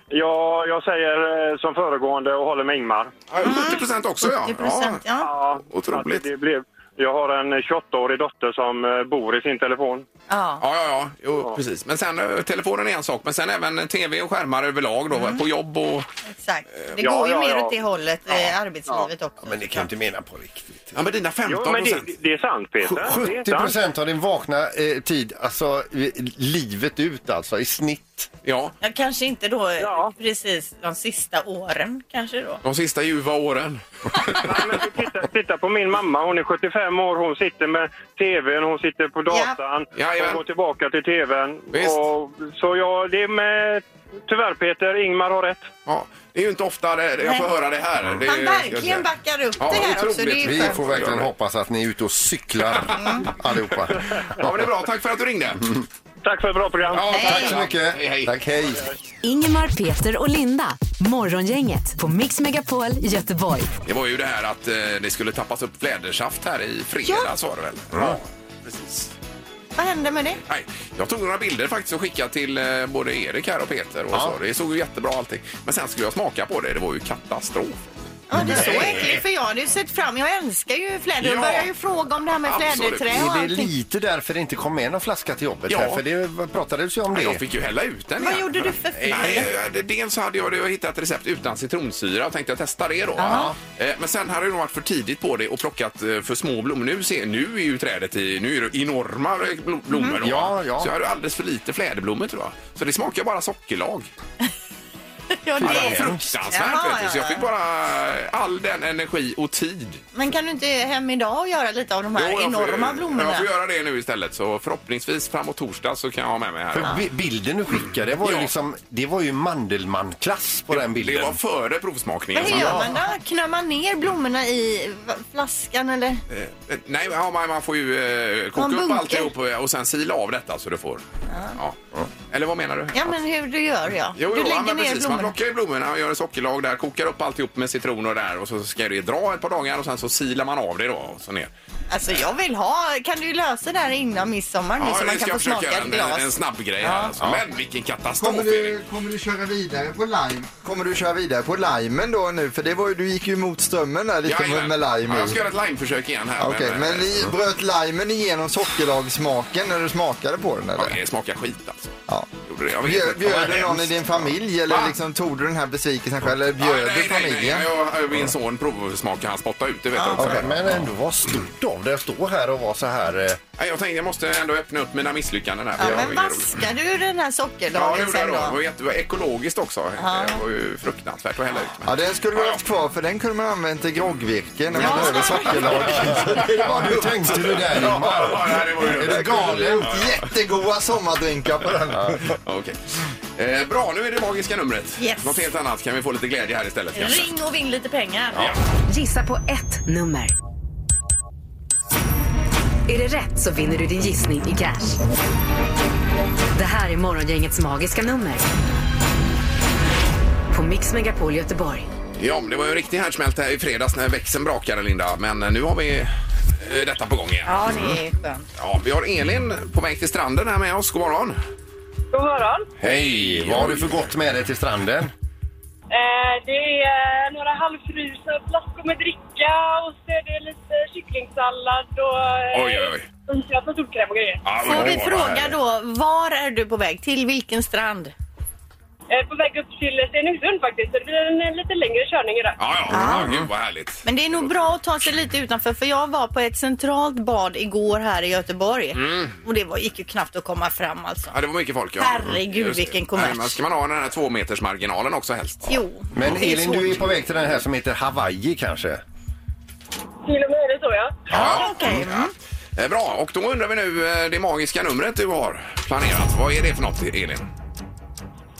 Speaker 7: Ja, jag säger eh, som föregående och håller med Ingmar.
Speaker 2: Ja, 70 procent också ja.
Speaker 4: 70 procent,
Speaker 2: ja.
Speaker 4: ja.
Speaker 7: Ja,
Speaker 2: Otroligt.
Speaker 7: alltså, Det blev, jag har en 28-årig dotter som eh, bor i sin telefon.
Speaker 4: ja.
Speaker 2: Ja, ja, ja. Jo, precis. Men sen eh, telefonen är en sak, men sen även tv och skärmar överlag då, på jobb och...
Speaker 4: Exakt. Det
Speaker 7: Ja,
Speaker 4: går ju
Speaker 7: ja,
Speaker 4: mer
Speaker 7: ja.
Speaker 4: åt det hållet, eh, arbetslivet också.
Speaker 3: Men det kan du inte mena på riktigt.
Speaker 2: Ja, men dina 15
Speaker 7: Jo, men det, det är sant Peter. Det är
Speaker 3: 70
Speaker 7: sant.
Speaker 3: procent av din vakna eh, tid, alltså eh, livet ut alltså, i snitt. rätt.
Speaker 2: Ja,
Speaker 4: Ja, kanske inte då eh,
Speaker 9: Ja.
Speaker 4: precis de sista åren kanske då.
Speaker 2: de sista ljuva åren.
Speaker 9: Nej, men du, titta, titta på min mamma. Hon är 75 år. Hon sitter med tvn, hon sitter på datan.
Speaker 2: Jajamän.
Speaker 9: Hon går tillbaka till tvn.
Speaker 2: Visst.
Speaker 9: Och, så ja, det är med... Tyvärr Peter, Ingmar har rätt.
Speaker 2: Ja, det är ju inte ofta det, jag får höra det här. Det är,
Speaker 4: Han
Speaker 2: ju-
Speaker 4: verkligen backar upp
Speaker 2: Ja,
Speaker 4: det här också.
Speaker 2: otroligt.
Speaker 4: Det är
Speaker 3: Vi
Speaker 4: ju skönt.
Speaker 3: får verkligen hoppas att ni är ute och cyklar
Speaker 4: Mm.
Speaker 3: allihopa.
Speaker 2: Ja, men det är bra. Tack för att du ringde.
Speaker 9: Tack för ett bra program.
Speaker 2: Ja,
Speaker 3: Mm. Tack så mycket.
Speaker 2: Hej, hej.
Speaker 3: Tack, hej.
Speaker 1: Ingemar, Peter och Linda. Morgongänget på Mix Megapol Göteborg.
Speaker 2: Det var ju det här att eh, det skulle tappas upp flädersaft här i fredags var det väl?
Speaker 3: Mm.
Speaker 2: Ja, precis.
Speaker 4: Vad händer med det?
Speaker 2: Nej, jag tog några bilder faktiskt och skickade till eh, både Erik här och Peter. Och så. Det såg ju jättebra allting. Men sen skulle jag smaka på det. Det var ju katastrof.
Speaker 4: Ja, det är så
Speaker 2: Nej.
Speaker 4: äckligt för jag hade ju sett fram, jag älskar ju fläder och
Speaker 2: Ja.
Speaker 4: började ju fråga om det här med
Speaker 2: Absolut.
Speaker 4: fläderträ och
Speaker 3: Är det
Speaker 4: allting.
Speaker 3: lite därför det inte kom med någon flaska till jobbet?
Speaker 2: Ja.
Speaker 3: Här? För det pratades ju om
Speaker 2: Nej, jag
Speaker 3: det.
Speaker 2: fick ju hälla ut den
Speaker 4: Vad
Speaker 2: igen.
Speaker 4: gjorde du för fel?
Speaker 2: Nej, eh, dels så hade jag, jag hittat ett recept utan citronsyra och tänkte jag testa det då. va? Eh, Men sen hade jag nog varit för tidigt på det och plockat eh, för små blommor. Nu, ser, nu är ju trädet i, nu är det enorma eh, blo- blommor.
Speaker 4: Mm.
Speaker 2: Då.
Speaker 3: Ja, ja.
Speaker 2: Så jag hade alldeles för lite fläderblommor tror jag. Så det smakar bara sockerlag.
Speaker 4: Ja,
Speaker 2: Det var
Speaker 4: det.
Speaker 2: fruktansvärt
Speaker 4: Jaha,
Speaker 2: vet du. Så jag
Speaker 4: ja,
Speaker 2: fick
Speaker 4: ja.
Speaker 2: bara all den energi och tid.
Speaker 4: Men kan du inte hem idag och göra lite av de här
Speaker 2: Jo, jag får-
Speaker 4: enorma blommorna?
Speaker 2: Jag får göra det nu istället. Så förhoppningsvis framåt torsdag så kan jag ha med mig här.
Speaker 3: För bi- bilden du skickade var ju
Speaker 2: Ja.
Speaker 3: liksom, det var ju Mandelmann-klass på den
Speaker 2: Det var
Speaker 3: bilden.
Speaker 2: före provsmakningen.
Speaker 4: Men hur
Speaker 2: så-
Speaker 4: gör man då? Knör man ner blommorna i va- flaskan eller?
Speaker 2: Eh, Nej, ja, man, man får ju eh, koka
Speaker 4: Man
Speaker 2: upp
Speaker 4: bunkar.
Speaker 2: alltihop eh, och, och sen sila av detta så du får. Ja. Eller vad menar du?
Speaker 4: Ja men hur du gör ja.
Speaker 2: Jo,
Speaker 4: du
Speaker 2: jo,
Speaker 4: lägger
Speaker 2: ja, men
Speaker 4: ner
Speaker 2: precis. Man
Speaker 4: blommorna.
Speaker 2: plockar ju blommorna och gör sockerlag där, kokar upp alltihop med citron och där och så ska det dra ett par dagar och sen så silar man av det då och så ner.
Speaker 4: Alltså jag vill ha, kan du lösa det här innan midsommar nu
Speaker 2: Ja,
Speaker 4: så man
Speaker 2: det ska
Speaker 4: kan få
Speaker 2: jag försöka
Speaker 4: smaka
Speaker 2: göra
Speaker 4: ett
Speaker 2: en, en,
Speaker 4: glas?
Speaker 2: en snabb grej här alltså. Men vilken katastrof
Speaker 5: Kommer
Speaker 2: Erik!
Speaker 5: du, kommer du köra vidare på lime? Kommer du köra vidare på limen då nu? För det var ju, du gick ju emot strömmen där lite
Speaker 2: Jajamän.
Speaker 5: med, med lime
Speaker 2: ja,
Speaker 5: i.
Speaker 2: jag ska eh, göra ett limeförsök igen här.
Speaker 5: Okej, men ni bröt limen igenom sockerlagssmaken när du smakade på den
Speaker 2: eh, Ja,
Speaker 5: eller?
Speaker 2: det smakar skit alltså.
Speaker 5: Ja.
Speaker 2: Gjorde det. Jag vet
Speaker 5: Bjöd,
Speaker 2: inte.
Speaker 5: bjöd
Speaker 2: Ja,
Speaker 5: du någon i din familj
Speaker 2: Va?
Speaker 5: eller liksom tog du den här besvikelsen själv? Eller
Speaker 2: Ja,
Speaker 5: bjöd du
Speaker 2: nej, nej, nej.
Speaker 5: familjen?
Speaker 2: Jag- jag- Min son provsmakade, han spottade ut det vet du också.
Speaker 3: Okej, men ändå var stort av det att stå här och vara så här. eh,
Speaker 2: Nej, jag tänkte jag måste ändå öppna upp mina misslyckanden här. för
Speaker 4: Ja,
Speaker 2: jag
Speaker 4: men
Speaker 2: var ju rolig.
Speaker 4: vaskar du den här
Speaker 2: Ja, det
Speaker 4: sockerlagen
Speaker 2: gjorde jag
Speaker 4: sen
Speaker 2: då. Det var,
Speaker 4: då?
Speaker 2: jätte, det var ekologiskt också. Det var ju fruktansvärt att hälla ut. Men...
Speaker 5: Ja, den skulle du
Speaker 2: Ja, ja.
Speaker 5: haft kvar för den kunde man använt till groggvirke när man
Speaker 4: Ja.
Speaker 5: behöver sockerlag.
Speaker 2: [LAUGHS]
Speaker 5: Så det var
Speaker 3: Ja, hur tänkte du där
Speaker 2: Ja,
Speaker 3: Ingmar?
Speaker 2: ja, det var ju...
Speaker 3: Är du galen?
Speaker 5: Jättegoda sommardrinkar på den.
Speaker 2: Ja, Okej. Eh, bra, nu är det magiska numret.
Speaker 4: Yes.
Speaker 2: Något helt annat. Kan vi få lite glädje här istället? kanske?
Speaker 4: Ring och vinn lite pengar.
Speaker 1: Gissa på ett nummer. Är det rätt så vinner du din gissning i cash. Det här är Morgongängets magiska nummer. På Mix Megapol Göteborg.
Speaker 2: Ja, men det var ju en riktig härdsmälta i fredags när växeln brakade, Linda. Men eh, nu har vi eh, detta på gång igen.
Speaker 4: Ja, det är skönt.
Speaker 2: Ja, vi har Elin på väg till stranden här med oss. God morgon!
Speaker 10: God morgon.
Speaker 3: Hej, vad har du för gott med dig till stranden?
Speaker 10: Eh, det är några halvfrusna flaskor med dricka och så är det lite kycklingsallad och... eh,
Speaker 2: Oj, oj, oj.
Speaker 10: Unkat med solkräm och grejer.
Speaker 2: Ja, men
Speaker 4: Får vi
Speaker 2: vad
Speaker 4: fråga
Speaker 2: härligt.
Speaker 4: då, var är du på väg? Till vilken strand?
Speaker 10: Eh, på väg upp till Stenungsund faktiskt, så det blir en eh, lite längre körning idag.
Speaker 2: Ja, ja. ja. Gud, vad härligt.
Speaker 4: Men det är nog bra att ta sig lite utanför för jag var på ett centralt bad igår här i Göteborg.
Speaker 2: Mm.
Speaker 4: Och det var, gick ju knappt att komma fram alltså.
Speaker 2: Ja, det var mycket folk. Ja.
Speaker 4: Herregud,
Speaker 2: Just det.
Speaker 4: vilken kommers.
Speaker 2: Nej, men Ska man ha den här två meters marginalen också helst?
Speaker 4: Jo.
Speaker 3: Men
Speaker 4: det är
Speaker 3: Elin,
Speaker 4: svårt.
Speaker 3: du är på väg till den här som heter Hawaii kanske?
Speaker 10: Till och med är det så ja.
Speaker 4: Ja, okej. Mm.
Speaker 2: Eh, Bra, och då undrar vi nu eh, det magiska numret du har planerat. Vad är det för något, Elin? Eh,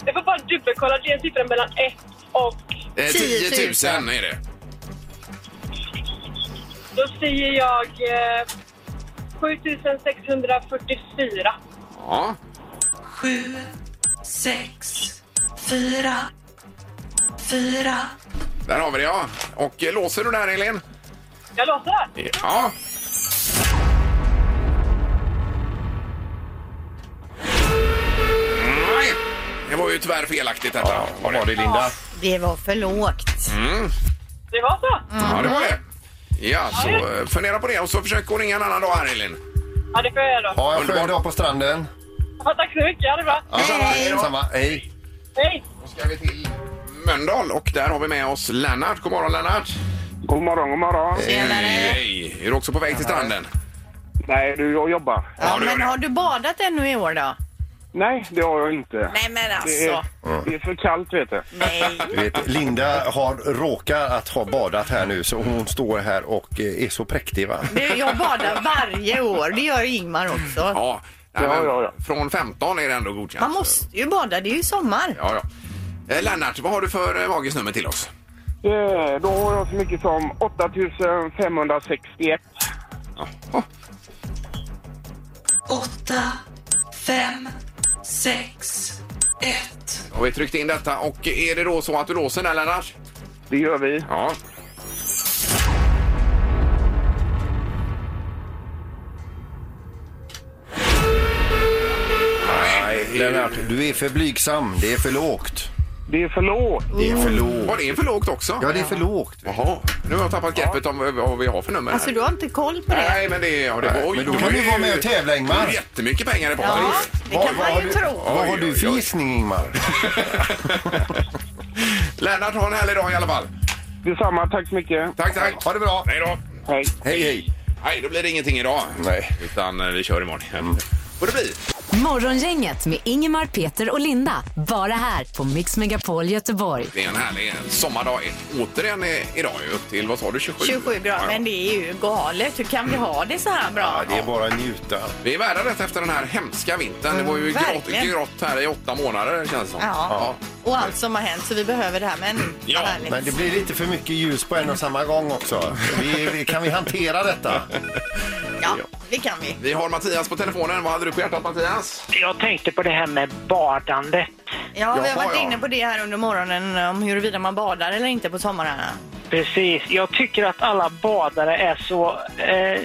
Speaker 10: Jag får bara dubbelkolla, det är siffran mellan 1 och...
Speaker 2: Eh,
Speaker 4: 10 000.
Speaker 2: 10 000 är det.
Speaker 10: Då säger jag eh, 7644.
Speaker 2: Ja. Där har vi det, ja. Och eh, låser du där, Elin?
Speaker 10: Jag låser!
Speaker 2: Ja. Nej, det var ju tyvärr felaktigt detta. var det.
Speaker 3: Linda?
Speaker 4: Det var för lågt.
Speaker 10: Det var så?
Speaker 2: Ja, det var det. Ja, så eh, fundera på det och så försök att ringa en annan dag här, Elin.
Speaker 10: Ja, det får jag göra då.
Speaker 3: Ja, jag
Speaker 2: Underbart.
Speaker 3: skön dag på stranden.
Speaker 10: Ja, tack så mycket, ha det bra.
Speaker 3: Ja, samma, samma. Hej.
Speaker 10: Hej!
Speaker 2: Då ska vi till Mölndal och där har vi med oss Lennart. God morgon Lennart!
Speaker 9: God morgon, god morgon.
Speaker 2: Hej! Är du också på väg till stranden?
Speaker 9: Nej, du, jag jobbar.
Speaker 4: Ja, men har du badat ännu i år då?
Speaker 7: Nej, det har jag inte.
Speaker 10: Nej men
Speaker 7: Det är,
Speaker 10: alltså.
Speaker 7: det är för kallt, vet du.
Speaker 10: Nej.
Speaker 3: Du vet, Linda har, råkar att ha badat här nu så hon står här och eh, är så präktig va?
Speaker 10: Det, jag badar varje år. Det gör ju Ingmar också.
Speaker 2: Ja, nej,
Speaker 7: Ja,
Speaker 2: men
Speaker 7: ja, ja.
Speaker 2: Från 15 är det ändå godkänt.
Speaker 10: Man måste ju bada. Det är ju sommar.
Speaker 2: Ja, ja. Eh, Lennart, vad har du för eh, magisnummer till oss?
Speaker 7: Eh, Då har jag så mycket som 8561.
Speaker 2: Oh,
Speaker 11: 8, 5, 6, 1.
Speaker 2: har vi tryckt in detta och är det då så att du låser den Lennart?
Speaker 7: Det gör vi.
Speaker 2: Ja. Nej,
Speaker 3: Lennart, du är för blygsam. Det är för lågt.
Speaker 7: Det är för lågt.
Speaker 3: Det är för lågt.
Speaker 2: Var det för lågt också?
Speaker 3: Ja, det är för lågt.
Speaker 2: Jaha, nu har jag tappat greppet om eh, vad vad vi har för nummer. här.
Speaker 10: Alltså du har inte koll på det.
Speaker 2: Nej, men det... Ja, det
Speaker 3: Nej,
Speaker 2: oj,
Speaker 3: men då
Speaker 2: det
Speaker 3: kan
Speaker 2: var
Speaker 3: du vara med och tävla, Ingmar.
Speaker 2: det var Jättemycket pengar i potten.
Speaker 10: Ja, det
Speaker 3: Vad-
Speaker 10: kan
Speaker 3: vad
Speaker 10: man
Speaker 3: har
Speaker 10: ju
Speaker 3: du-
Speaker 10: tro.
Speaker 3: Vad har
Speaker 2: Oj,
Speaker 3: du
Speaker 2: oj,
Speaker 3: för
Speaker 2: oj.
Speaker 3: gissning [LAUGHS] Ingmar?
Speaker 2: Lennart, ha en härlig dag i alla fall.
Speaker 7: Detsamma, tack så mycket.
Speaker 2: Tack, tack.
Speaker 3: Ha det bra.
Speaker 2: Hej då.
Speaker 7: Hej.
Speaker 3: Hej, hej.
Speaker 2: Nej, då blir det ingenting idag.
Speaker 3: Nej. Mm.
Speaker 2: Utan eh, vi kör imorgon. Får det bli.
Speaker 1: Morgongänget med Ingemar, Peter och Linda. Bara här på Mix Megapol Göteborg.
Speaker 2: Det är en härlig sommardag återigen i- idag. ju, Upp till, vad sa du, 27?
Speaker 10: 27
Speaker 2: Ja,
Speaker 10: grader,
Speaker 2: ja.
Speaker 10: men det är ju galet. Hur kan vi ha det så här bra?
Speaker 3: Det är bara att njuta.
Speaker 2: Vi är värda rätt efter den här hemska vintern. Det var ju
Speaker 10: Mm,
Speaker 2: grått,
Speaker 10: verkligen.
Speaker 2: grått här i åtta månader känns det som.
Speaker 10: Ja. Och allt som har hänt, så vi behöver det här. Men
Speaker 2: Ja,
Speaker 10: vad härligt.
Speaker 3: Men det blir lite för mycket ljus på en och samma gång också. Vi, vi, kan vi hantera detta?
Speaker 10: ja, det kan vi.
Speaker 2: Vi har Mattias på telefonen. Vad hade du på hjärtat Mattias?
Speaker 11: Jag tänkte på det här med badandet.
Speaker 10: Ja, vi har
Speaker 2: Jaha,
Speaker 10: varit
Speaker 2: ja.
Speaker 10: inne på det här under morgonen om huruvida man badar eller inte på somrarna.
Speaker 11: Precis. Jag tycker att alla badare är så... Eh,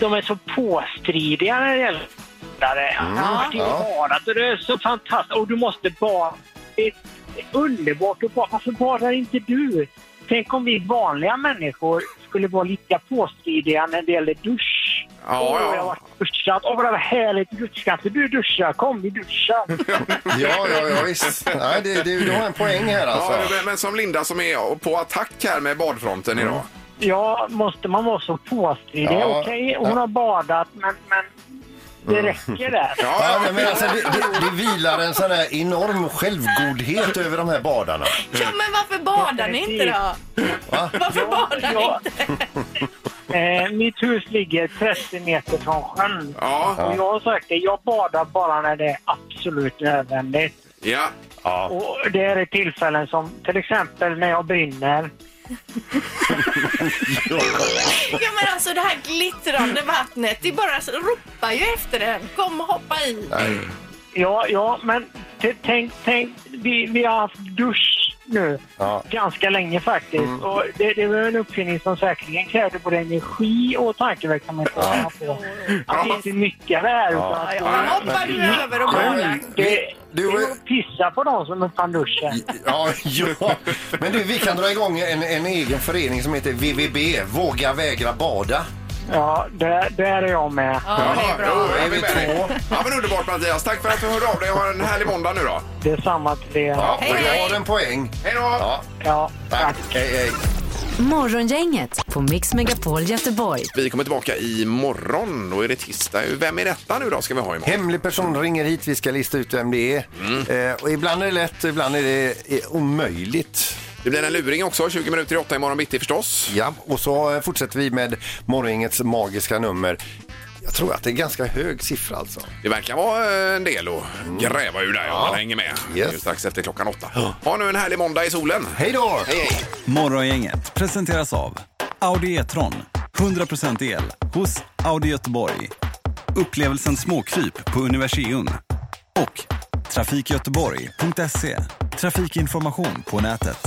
Speaker 11: de är så påstridiga när det gäller badare. Ja, det är
Speaker 3: ja.
Speaker 11: badat och det är så fantastiskt. Och du måste bada. Det är underbart att bada. Varför badar inte du? Tänk om vi vanliga människor skulle vara lika påstridiga när det gäller dusch.
Speaker 2: Ja,
Speaker 11: Åh,
Speaker 2: ja.
Speaker 11: jag har varit duschat. Åh, vad det var härligt. Du Ska inte du duscha? Kom, vi duschar.
Speaker 3: [LAUGHS] Ja, ja, ja visst. Nej, det, det, du har en poäng här alltså.
Speaker 2: Ja, men- men som Linda som är på attack här med badfronten
Speaker 3: Mm.
Speaker 2: idag.
Speaker 11: Ja, måste man vara så påstridig?
Speaker 3: Ja. Mm.
Speaker 11: Okej, hon har badat, men, men det räcker där.
Speaker 3: Ja, nej, men alltså, det, det, det vilar en sån här enorm självgodhet över de här badarna.
Speaker 10: Ja, men varför badar ni inte då? Varför badar ni
Speaker 11: Ja.
Speaker 10: inte?
Speaker 11: Eh, mitt hus ligger 30 meter från sjön.
Speaker 2: Ja,
Speaker 11: Och jag har sagt det, jag badar bara när det är absolut nödvändigt.
Speaker 2: ja.
Speaker 3: Ja.
Speaker 11: Och det är det tillfällen som till exempel när jag brinner.
Speaker 10: Ja, men alltså det här glittrande vattnet, det bara så- ropar ju efter en. Kom och hoppa i.
Speaker 11: Ja, ja, men t- tänk, tänk, vi, vi har haft dusch nu
Speaker 3: Ja. Mm.
Speaker 11: ganska länge faktiskt. Och det, det var en uppfinning som säkerligen krävde både energi och tankeverksamhet. Ja. Att vi inte nyttjar det här. Utan att
Speaker 10: Ja, man hoppar ju över och badar.
Speaker 11: det,
Speaker 3: Du-
Speaker 11: det är att pissa på dem som uppfann duschen.
Speaker 3: Ja, ja, men du, vi kan dra igång en, en egen förening som heter VVB, Våga vägra bada.
Speaker 11: Ja, där, där är jag med.
Speaker 10: Ja, det är bra.
Speaker 2: jo, jag
Speaker 3: Är vi
Speaker 2: är med dig.
Speaker 3: två?
Speaker 2: Ja, men underbart Mattias. Tack för att du hörde av dig. Ha en härlig måndag nu då.
Speaker 11: Det är samma till er.
Speaker 3: Ja,
Speaker 10: Hej,
Speaker 3: du
Speaker 10: hej.
Speaker 3: har en poäng.
Speaker 2: Hej då!
Speaker 3: Ja,
Speaker 11: Ja,
Speaker 3: tack. Hej, hej.
Speaker 1: Morgongänget på Mix Megapol Göteborg.
Speaker 2: Vi kommer tillbaka imorgon. Då är det tisdag. Vem är detta nu då ska vi ha imorgon?
Speaker 3: Hemlig person ringer hit, vi ska lista ut vem det är. Eh, och ibland är det lätt, ibland är det eh, omöjligt.
Speaker 2: Det blir en luring också. 20 minuter i åtta imorgon bitti förstås.
Speaker 3: Ja, och så eh, fortsätter vi med morgongängets magiska nummer. Jag tror att det är en ganska hög siffra alltså.
Speaker 2: Det verkar vara eh, en del att gräva ur där om man hänger med.
Speaker 3: Yes.
Speaker 2: Det är strax efter klockan åtta. Ha nu en härlig måndag i solen.
Speaker 3: Hej då!
Speaker 2: Hej, hej.
Speaker 12: Morgongänget presenteras av Audi E-tron. 100% el hos Audi Göteborg. Upplevelsen småkryp på Universium. Och trafikgöteborg.se. Trafikinformation på nätet.